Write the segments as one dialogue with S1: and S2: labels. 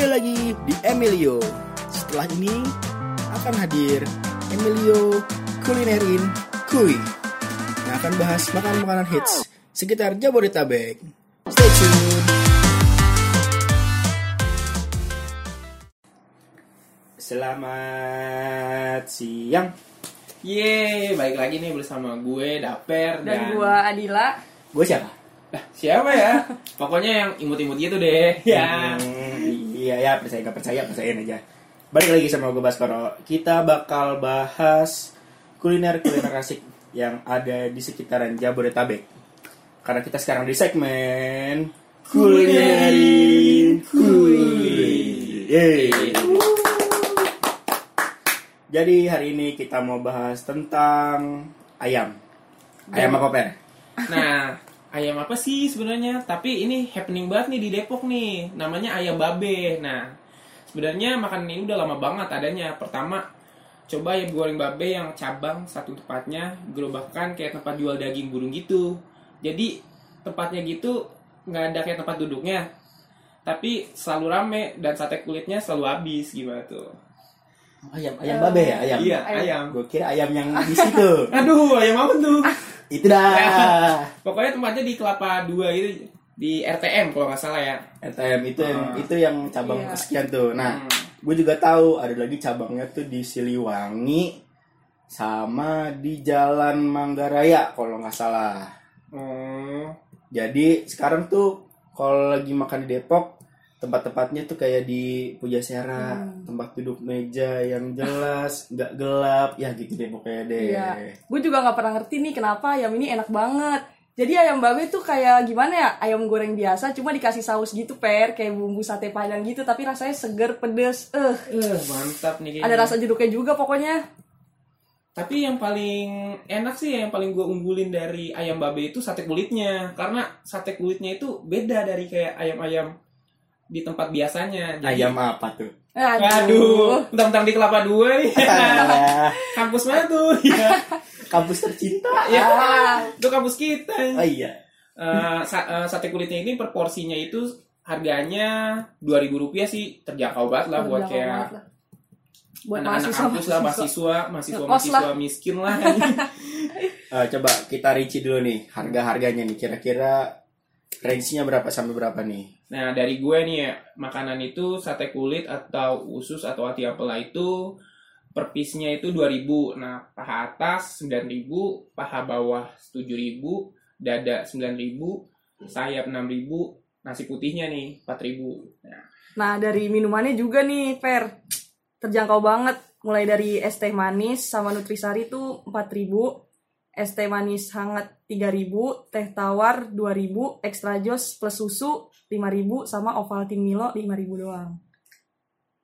S1: di Emilio. Setelah ini akan hadir Emilio Kulinerin Kui yang akan bahas makanan-makanan hits sekitar Jabodetabek. Stay tune. Selamat siang.
S2: Yeay, balik lagi nih bersama gue Daper dan,
S3: dan gua Adila
S1: Gue siapa?
S2: Lah, siapa ya? Pokoknya yang imut-imut gitu deh. Ya.
S1: Hmm, iya ya percaya nggak percaya percayain aja. Balik lagi sama gue Baskoro. Kita bakal bahas kuliner kuliner klasik yang ada di sekitaran Jabodetabek. Karena kita sekarang di segmen kulinerin Kui. Yeay. Jadi hari ini kita mau bahas tentang ayam. Ayam apa per?
S2: Nah, ayam apa sih sebenarnya? Tapi ini happening banget nih di Depok nih. Namanya ayam babe. Nah, sebenarnya makanan ini udah lama banget adanya. Pertama, coba ayam goreng babe yang cabang satu tempatnya gerobakkan kayak tempat jual daging burung gitu. Jadi tempatnya gitu nggak ada kayak tempat duduknya. Tapi selalu rame dan sate kulitnya selalu habis gimana tuh?
S1: Ayam, ayam babe ya ayam.
S2: Iya,
S3: Ayam.
S2: ayam.
S1: Gue kira ayam yang di situ.
S2: Aduh, ayam apa tuh?
S1: Itu dah.
S2: Pokoknya tempatnya di Kelapa 2 itu di RTM kalau nggak salah ya.
S1: ATM itu yang
S2: Ah.
S1: itu yang cabang
S3: Iya.
S1: kesekian tuh. Nah,
S2: Hmm.
S1: gue juga tahu ada lagi cabangnya tuh di Siliwangi sama di Jalan Manggaraya kalau nggak salah.
S2: Oh,
S1: Jadi sekarang tuh kalau lagi makan di Depok tempat-tempatnya tuh kayak di Pujasera,
S3: Hmm.
S1: tempat duduk meja yang jelas, nggak gelap, ya gitu deh pokoknya deh.
S3: Iya. Gue juga nggak pernah ngerti nih kenapa ayam ini enak banget. Jadi ayam babe tuh kayak gimana ya? Ayam goreng biasa cuma dikasih saus gitu, Per, kayak bumbu sate padang gitu tapi rasanya seger, pedes. Eh,
S2: eh, mantap nih kayaknya.
S3: ada rasa jeruknya juga pokoknya.
S2: Tapi yang paling enak sih yang paling gue unggulin dari ayam babe itu sate kulitnya. Karena sate kulitnya itu beda dari kayak ayam-ayam di tempat biasanya. Jadi-
S1: Ayam apa tuh?
S3: Eh,
S2: Aduh, tentang di Kelapa 2 ya.
S1: Ah,
S2: Kampus mana tuh? Ya.
S1: Kampus tercinta.
S3: Iya.
S2: ya.
S3: Ah.
S2: Itu kampus kita.
S1: Oh iya.
S2: Eh, sa- eh, sate kulitnya ini per porsinya itu harganya dua ribu rupiah sih terjangkau banget lah buat
S3: Bilang banget
S2: kayak
S3: lah. buat
S2: anak-anak
S3: mahasiswa,
S2: kampus lah
S3: mahasiswa.
S2: mahasiswa mahasiswa
S3: Ngekos lah.
S2: mahasiswa miskin lah
S1: Eh, coba kita rinci dulu nih harga-harganya nih kira-kira range-nya berapa sampai berapa nih?
S2: nah dari gue nih ya makanan itu sate kulit atau usus atau hati apalah itu per piece-nya itu 2000 nah paha atas 9000 paha bawah 7000 dada 9000 sayap 6000 nasi putihnya nih 4000 nah,
S3: Nah, dari minumannya juga nih, Per. Terjangkau banget. Mulai dari es teh manis sama Nutrisari itu 4000 es teh manis hangat 3000 teh tawar 2000 extra jos plus susu 5000 sama Ovaltine Milo 5000 doang.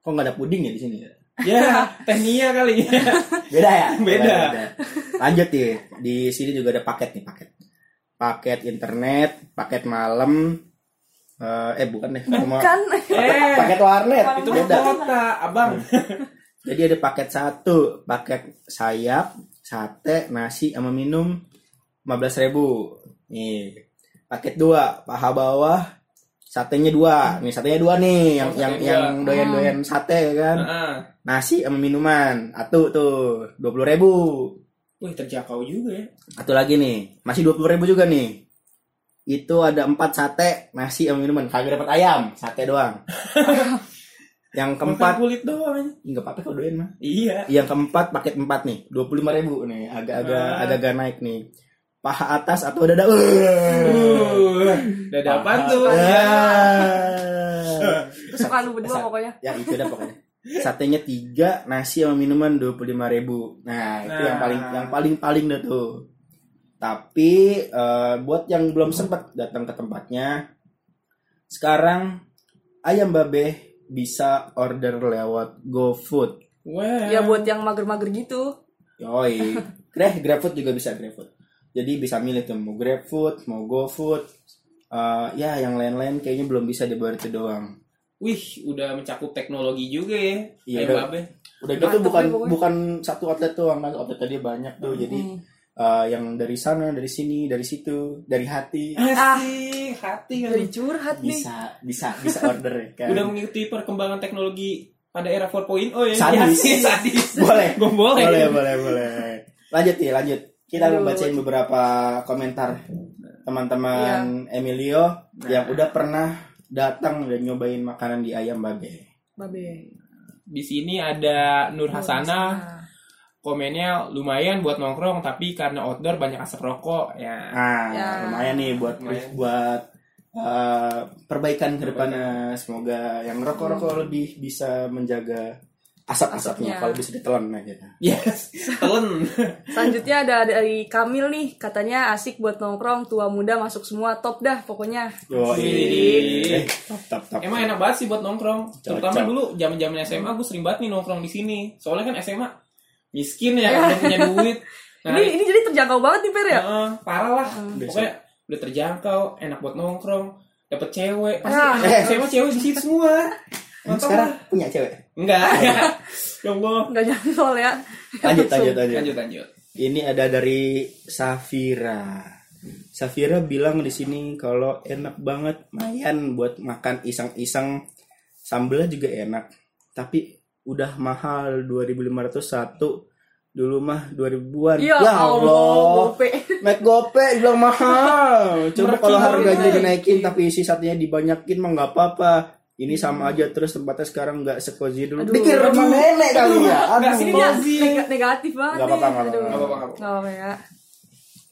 S1: Kok nggak ada puding ya di sini?
S2: ya tehnia kali ya
S1: Beda ya?
S2: Beda.
S1: Lanjut nih, di sini juga ada paket nih paket. Paket internet, paket malam. Eh, eh bukan deh, Mau-
S3: Kan
S2: Eh,
S1: paket warnet
S2: itu mah
S1: beda.
S2: kota, abang.
S1: Jadi ada paket satu, paket sayap, sate, nasi, sama minum 15.000 Nih. Paket dua, paha bawah, satenya dua. Nih satenya dua nih, yang
S2: Oh,
S1: yang
S2: sate dua. Ah. Nah.
S1: yang doyan-doyan sate ya kan.
S2: Heeh.
S1: Nasi sama minuman, atu tuh 20.000 ribu.
S2: Wih, terjangkau juga ya.
S1: Satu lagi nih, masih 20.000 ribu juga nih. Itu ada empat sate, nasi sama minuman. Kagak dapat ayam, sate doang. yang
S2: Makan
S1: keempat,
S2: kulit doang.
S1: nggak apa-apa kalau doyan mah.
S2: Iya.
S1: yang keempat paket empat nih dua puluh lima ribu nih agak-agak
S2: Ah.
S1: agak-agak naik nih paha atas atau dada uh.
S2: Uh, dada apa tuh? Iya. Ya.
S1: Ah.
S3: kesukaan lu berdua pokoknya.
S1: ya itu dah pokoknya satenya tiga nasi sama minuman dua puluh lima ribu nah itu yang
S2: Nah.
S1: paling yang paling paling dah tuh tapi eh, buat yang belum sempat datang ke tempatnya sekarang ayam babe bisa order lewat GoFood
S2: Wah.
S3: Ya buat yang mager-mager gitu.
S1: Yoi. Grab GrabFood juga bisa GrabFood. Jadi bisa milih tuh mau GrabFood, mau GoFood. Eh, ya yang lain-lain kayaknya belum bisa di itu doang.
S2: Wih, udah mencakup teknologi juga ya.
S1: Iya,
S2: Iya,
S1: udah.
S2: Babe.
S1: Udah gitu
S3: Mantep
S1: bukan
S3: nih ya, pokoknya.
S1: bukan satu outlet doang, nanti outlet tadi banyak tuh. Jadi
S3: Hmm.
S1: eh, yang dari sana, dari sini, dari situ, dari hati
S2: Asik, hati kan.
S3: Jadi curhat nih.
S1: bisa bisa bisa order kan.
S2: Udah mengikuti perkembangan teknologi pada era 4.0 ya.
S1: Sadis.
S2: Iya, sadis.
S1: Boleh.
S2: Gua boleh.
S1: boleh boleh boleh lanjut nih lanjut kita
S3: Aduh. Iya.
S1: akan bacain beberapa komentar teman-teman Emilio
S2: Nah,
S1: yang udah pernah datang dan nyobain makanan di ayam babe
S3: Babe. Nah.
S2: Di sini ada Nur
S1: Nah,
S2: Hasanah, komennya lumayan buat nongkrong tapi karena outdoor banyak asap rokok ya.
S1: ah
S3: Ya.
S1: lumayan nih buat
S2: Lumayan.
S1: buat uh, perbaikan ke depannya semoga yang rokok-rokok lebih bisa menjaga asap-asapnya
S3: Asapnya.
S1: kalau bisa ditelan aja
S2: Yes, telen.
S3: Selanjutnya ada dari Kamil nih, katanya asik buat nongkrong, tua muda masuk semua, top dah pokoknya.
S1: Yo, Eh,
S2: Wih.
S1: top top top.
S2: Emang enak banget sih buat nongkrong. Terutama
S1: Cocok.
S2: dulu zaman-zaman SMA gue sering banget nih nongkrong di sini. Soalnya kan SMA miskin ya, udah punya duit. Nah,
S3: ini ini jadi terjangkau banget nih Per ya. Hmm.
S2: heeh, parah lah.
S1: Besok.
S2: Pokoknya udah terjangkau, enak buat nongkrong, dapet cewek. Pasti
S3: Ah.
S2: anak SMA cewek di situ semua.
S1: Emang
S2: Mantap
S1: sekarang
S2: lah.
S1: punya cewek.
S2: Enggak. ya Allah.
S3: Nggak jadi soal ya.
S1: Lanjut lanjut lanjut.
S2: Lanjut lanjut.
S1: Ini ada dari Safira. Safira bilang di sini kalau enak banget mayan buat makan iseng-iseng. Sambelnya juga enak. Tapi udah mahal 2501 dulu mah 2000-an.
S3: Ya Allah, gope.
S1: Mac gope bilang mahal. ya? Iya. Coba
S2: Murah
S1: kalau
S2: kilo,
S1: harganya
S2: Nay.
S1: dinaikin tapi isi satunya dibanyakin mah nggak apa-apa. Ini sama aja terus tempatnya sekarang nggak sekozi dulu.
S3: Aduh,
S1: Dikir rumah nenek kali ya.
S2: Nggak,
S1: Aduh.
S2: sini
S3: Ini
S2: dia.
S3: neg- negatif banget.
S1: Nggak apa-apa,
S3: nih.
S1: nggak apa-apa.
S2: Nggak
S3: Aduh.
S2: apa-apa. nggak apa-apa.
S3: Nggak apa-apa ya.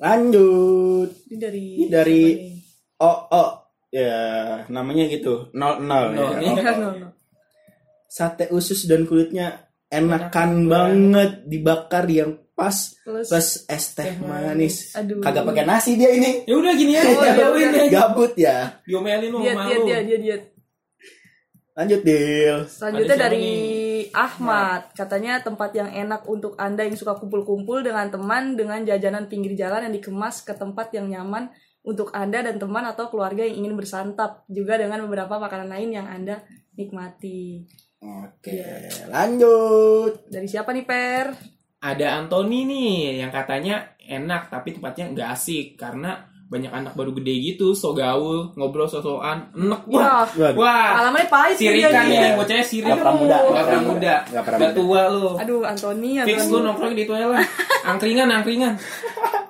S1: Lanjut.
S3: Ini dari
S1: Ini dari-
S3: siapa nih?
S1: Oh, oh. Ya, namanya gitu. Nol nol.
S2: Nol,
S1: ya.
S2: iya.
S1: Oh.
S3: Nggak, nggak, nggak.
S1: Sate usus dan kulitnya enakan
S2: Enakan
S1: banget dibakar yang pas
S3: Plus,
S1: plus es teh
S2: Teh
S1: manis.
S3: Aduh.
S1: Kagak pakai nasi dia ini.
S2: Ya udah gini ya,
S3: Oh, iya,
S2: jauhin
S3: udah.
S2: deh.
S1: Gabut ya.
S2: Diomelin lu
S3: diet,
S2: sama
S3: diet,
S2: lu.
S3: diet, diet, diet.
S1: Lanjut, Dil.
S3: Selanjutnya
S2: Ada siapa
S3: dari Ahmad, katanya tempat yang enak untuk Anda yang suka kumpul-kumpul dengan teman dengan jajanan pinggir jalan yang dikemas ke tempat yang nyaman untuk Anda dan teman atau keluarga yang ingin bersantap juga dengan beberapa makanan lain yang Anda nikmati.
S1: Oke, lanjut.
S3: Dari siapa nih, Per?
S2: Ada Anthony nih yang katanya enak tapi tempatnya nggak asik karena banyak anak baru gede gitu, so gaul, ngobrol sosokan, enek wah.
S3: Wah,
S1: Waduh.
S2: Wah,
S3: alamannya pahit sih Iya. dia
S2: sirikan ya.
S3: nih.
S1: iya.
S2: nih, bocahnya sirik.
S1: Nggak pernah muda,
S2: Nggak pernah muda.
S1: Nggak pernah
S2: Udah
S1: muda.
S2: tua lu.
S3: Aduh, Antoni,
S2: Fix lu
S3: Antoni.
S2: nongkrong di toilet lah. Angkringan, angkringan.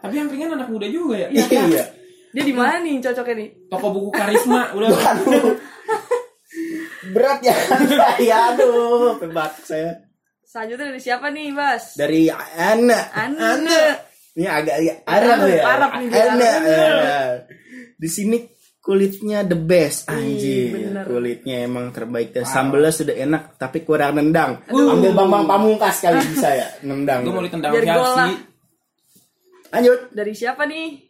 S2: Tapi angkringan anak muda juga ya.
S1: Iya.
S3: Dia di mana nih cocoknya nih?
S2: Toko buku karisma udah.
S1: Aduh. Berat ya. Saya aduh, pembak saya.
S3: Selanjutnya dari siapa nih, Bas?
S1: Dari Ana.
S3: Ana.
S1: Ini agak agak Arab ya.
S3: Arab nih, dia
S1: Ana.
S3: Arab.
S1: ya. Di sini kulitnya the best anjir.
S3: bener.
S1: Kulitnya emang terbaik dan sambelnya sudah enak tapi kurang nendang. Ambil
S2: Uh.
S1: Bambang Pamungkas kali bisa ya nendang.
S2: Gue mau ditendang
S3: Biar
S2: siapa
S3: gol lah.
S2: sih?
S1: Lanjut.
S3: Dari siapa nih?
S1: Dari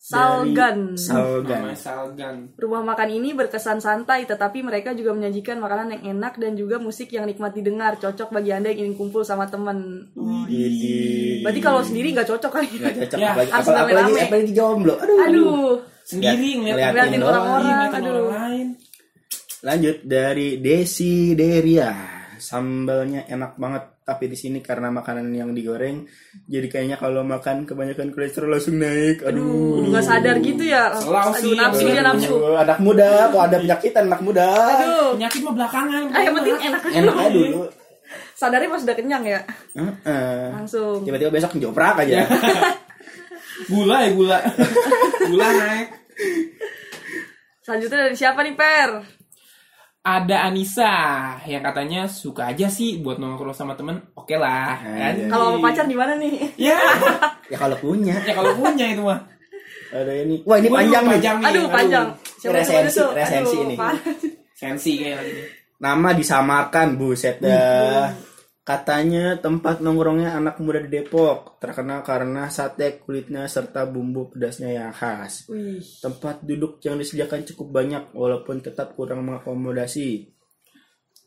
S3: Salgan.
S1: Salgan.
S2: Namanya Salgan.
S3: Rumah makan ini berkesan santai, tetapi mereka juga menyajikan makanan yang enak dan juga musik yang nikmat didengar. Cocok bagi anda yang ingin kumpul sama temen. Oh, iya.
S1: Jadi-
S3: Berarti kalau sendiri nggak cocok kali.
S1: Nggak cocok
S2: Ya,
S1: apalagi,
S3: harus
S1: apalagi, apalagi,
S3: rame-rame.
S1: apalagi jomblo. Aduh.
S3: Aduh,
S2: Sendiri ngeliat
S1: Ngeliatin
S2: ngeliatin
S1: orang.
S2: orang, ngeliatin
S3: Aduh.
S2: orang lain.
S1: Lanjut dari Desi Deria. Sambalnya enak banget, tapi di sini karena makanan yang digoreng, jadi kayaknya kalau makan kebanyakan kolesterol langsung naik. Aduh.
S3: nggak sadar gitu ya.
S2: Selalu
S3: Aduh,
S2: sih,
S3: nafsu
S2: bener.
S3: dia nafsu.
S1: Aduh, anak muda, kok ada penyakitan anak muda?
S3: Aduh,
S2: Penyakit mah belakangan.
S3: ah, yang penting enak.
S1: Enak aja dulu.
S3: Sadarnya pas udah kenyang ya,
S1: Heeh.
S3: langsung.
S1: Tiba-tiba besok njoprak aja.
S2: Gula ya gula. gula naik.
S3: Selanjutnya dari siapa nih Per?
S2: Ada Anissa yang katanya suka aja sih buat nongkrong sama temen. Oke lah, kan?
S1: Iya.
S3: Kalau mau pacar di mana nih?
S2: Ya,
S1: ya kalau punya.
S2: ya kalau punya itu mah.
S1: Ada ini. Wah, ini
S2: Waduh,
S1: panjang, nih.
S2: panjang nih.
S3: Aduh, panjang. Siapa
S1: Resensi,
S3: dulu tuh?
S1: resensi
S3: Aduh,
S1: ini.
S3: parah.
S2: Sensi kayaknya lagi nih.
S1: Nama disamarkan, buset dah. Katanya tempat nongkrongnya anak muda di Depok, terkenal karena sate kulitnya serta bumbu pedasnya yang khas.
S3: Wih.
S1: Tempat duduk yang disediakan cukup banyak walaupun tetap kurang mengakomodasi.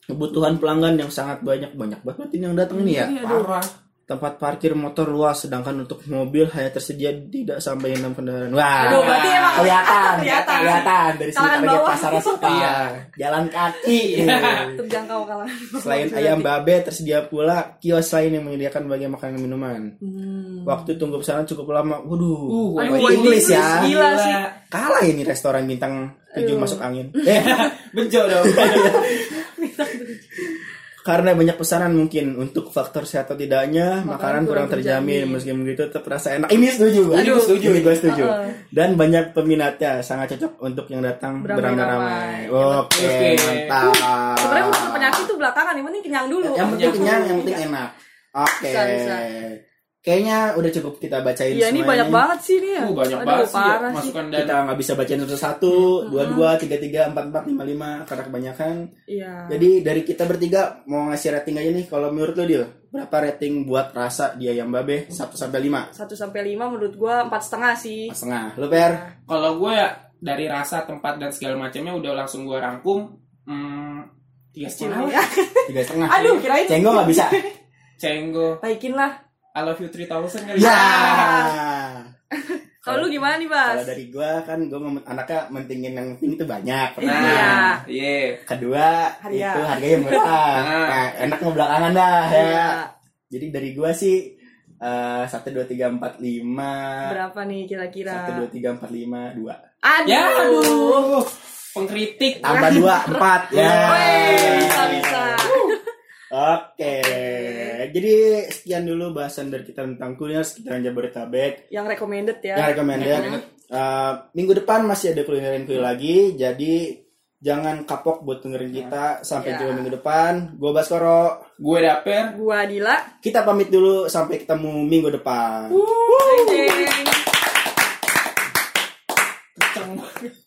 S1: Kebutuhan pelanggan yang sangat banyak banyak banget ini yang datang nih ya.
S3: Iya, aduh.
S2: Parah.
S1: Tempat parkir motor luas, sedangkan untuk mobil hanya tersedia tidak sampai 6 kendaraan. Wah,
S3: Aduh, berarti emang
S1: kelihatan,
S3: kelihatan.
S1: kelihatan, dari sini
S3: Kalangan
S1: target
S3: bawah.
S1: pasar kita.
S2: Iya.
S1: Jalan kaki.
S3: terjangkau kalau
S1: Selain
S3: Iya.
S1: ayam babe, tersedia pula kios lain yang menyediakan berbagai makanan dan minuman.
S3: hmm.
S1: Waktu tunggu pesanan cukup lama. Waduh,
S2: Uh,
S1: bahasa
S3: Aduh,
S2: Wah,
S1: Inggris ya.
S3: Gila sih.
S1: Kalah ini restoran bintang 7
S3: Aduh.
S1: masuk angin. Eh,
S2: Bejo dong.
S1: Karena banyak pesanan mungkin untuk faktor sehat atau tidaknya makanan, kurang terjamin meski begitu tetap rasa enak. Ini setuju gue.
S2: Ini gua setuju.
S1: Ini gua setuju.
S3: Heeh.
S1: Dan banyak peminatnya sangat cocok untuk yang datang
S3: Beramai-ramai. Ya,
S1: beramai-ramai. Oke,
S2: Oke.
S1: mantap.
S3: sebenarnya musuh penyakit tuh belakangan yang penting kenyang dulu Iya,
S1: Yang penting kenyang, yang penting enak. Oke.
S3: Bisa, bisa.
S1: Kayaknya udah cukup kita bacain
S3: iya ini
S1: semua
S3: banyak banget sih nih ya
S2: Uh, banyak
S3: Aduh,
S2: banget sih ya,
S3: parah sih
S2: masukan dan
S1: Kita nggak bisa bacain satu-satu, dua-dua, tiga-tiga, empat-empat, lima-lima karena kebanyakan.
S3: iya
S1: Jadi dari kita bertiga mau ngasih rating aja nih kalau menurut lo Dil, berapa rating buat rasa di ayam babe 1 sampai 5?
S3: 1 sampai 5 menurut gua 4 setengah sih.
S1: Setengah. Lo Per?
S2: kalau gue dari rasa tempat dan segala macamnya udah langsung gue rangkum hmm, tiga setengah
S3: ya.
S2: lah.
S1: Tiga setengah.
S3: Iya, Aduh, kirain
S1: Cenggol nggak bisa.
S2: Cenggo,
S3: Naikin lah.
S2: I love you 3000 kali.
S1: Ya.
S3: Kalau lu gimana nih,
S1: Kalau
S3: Bas?
S1: dari gua kan gua mem- anaknya mentingin yang penting itu banyak. Pertama.
S3: Iya.
S2: Nah, iya.
S1: Kedua
S3: Harga.
S1: itu harganya murah.
S2: Nah.
S1: nah, enak mau belakangan dah ya.
S3: Iya.
S1: Jadi dari gua sih eh, 1 2 3 4 5
S3: Berapa nih kira-kira?
S1: 1 2 3 4 5 2
S3: Aduh.
S2: Ya, aduh. Pengkritik.
S1: tambah dua empat ya
S3: bisa bisa.
S1: oke jadi sekian dulu bahasan dari kita tentang kuliner sekitaran Jabodetabek
S3: Yang recommended ya.
S1: yang recommended Eh, minggu depan masih ada kulinerin kuy lagi jadi jangan kapok buat dengerin kita sampai
S3: Ya.
S1: jumpa minggu depan gue Baskoro
S2: Gue daper.
S3: Gua Dila.
S1: kita pamit dulu sampai ketemu minggu depan
S3: Wuh. Deng, deng.
S2: Kenceng banget.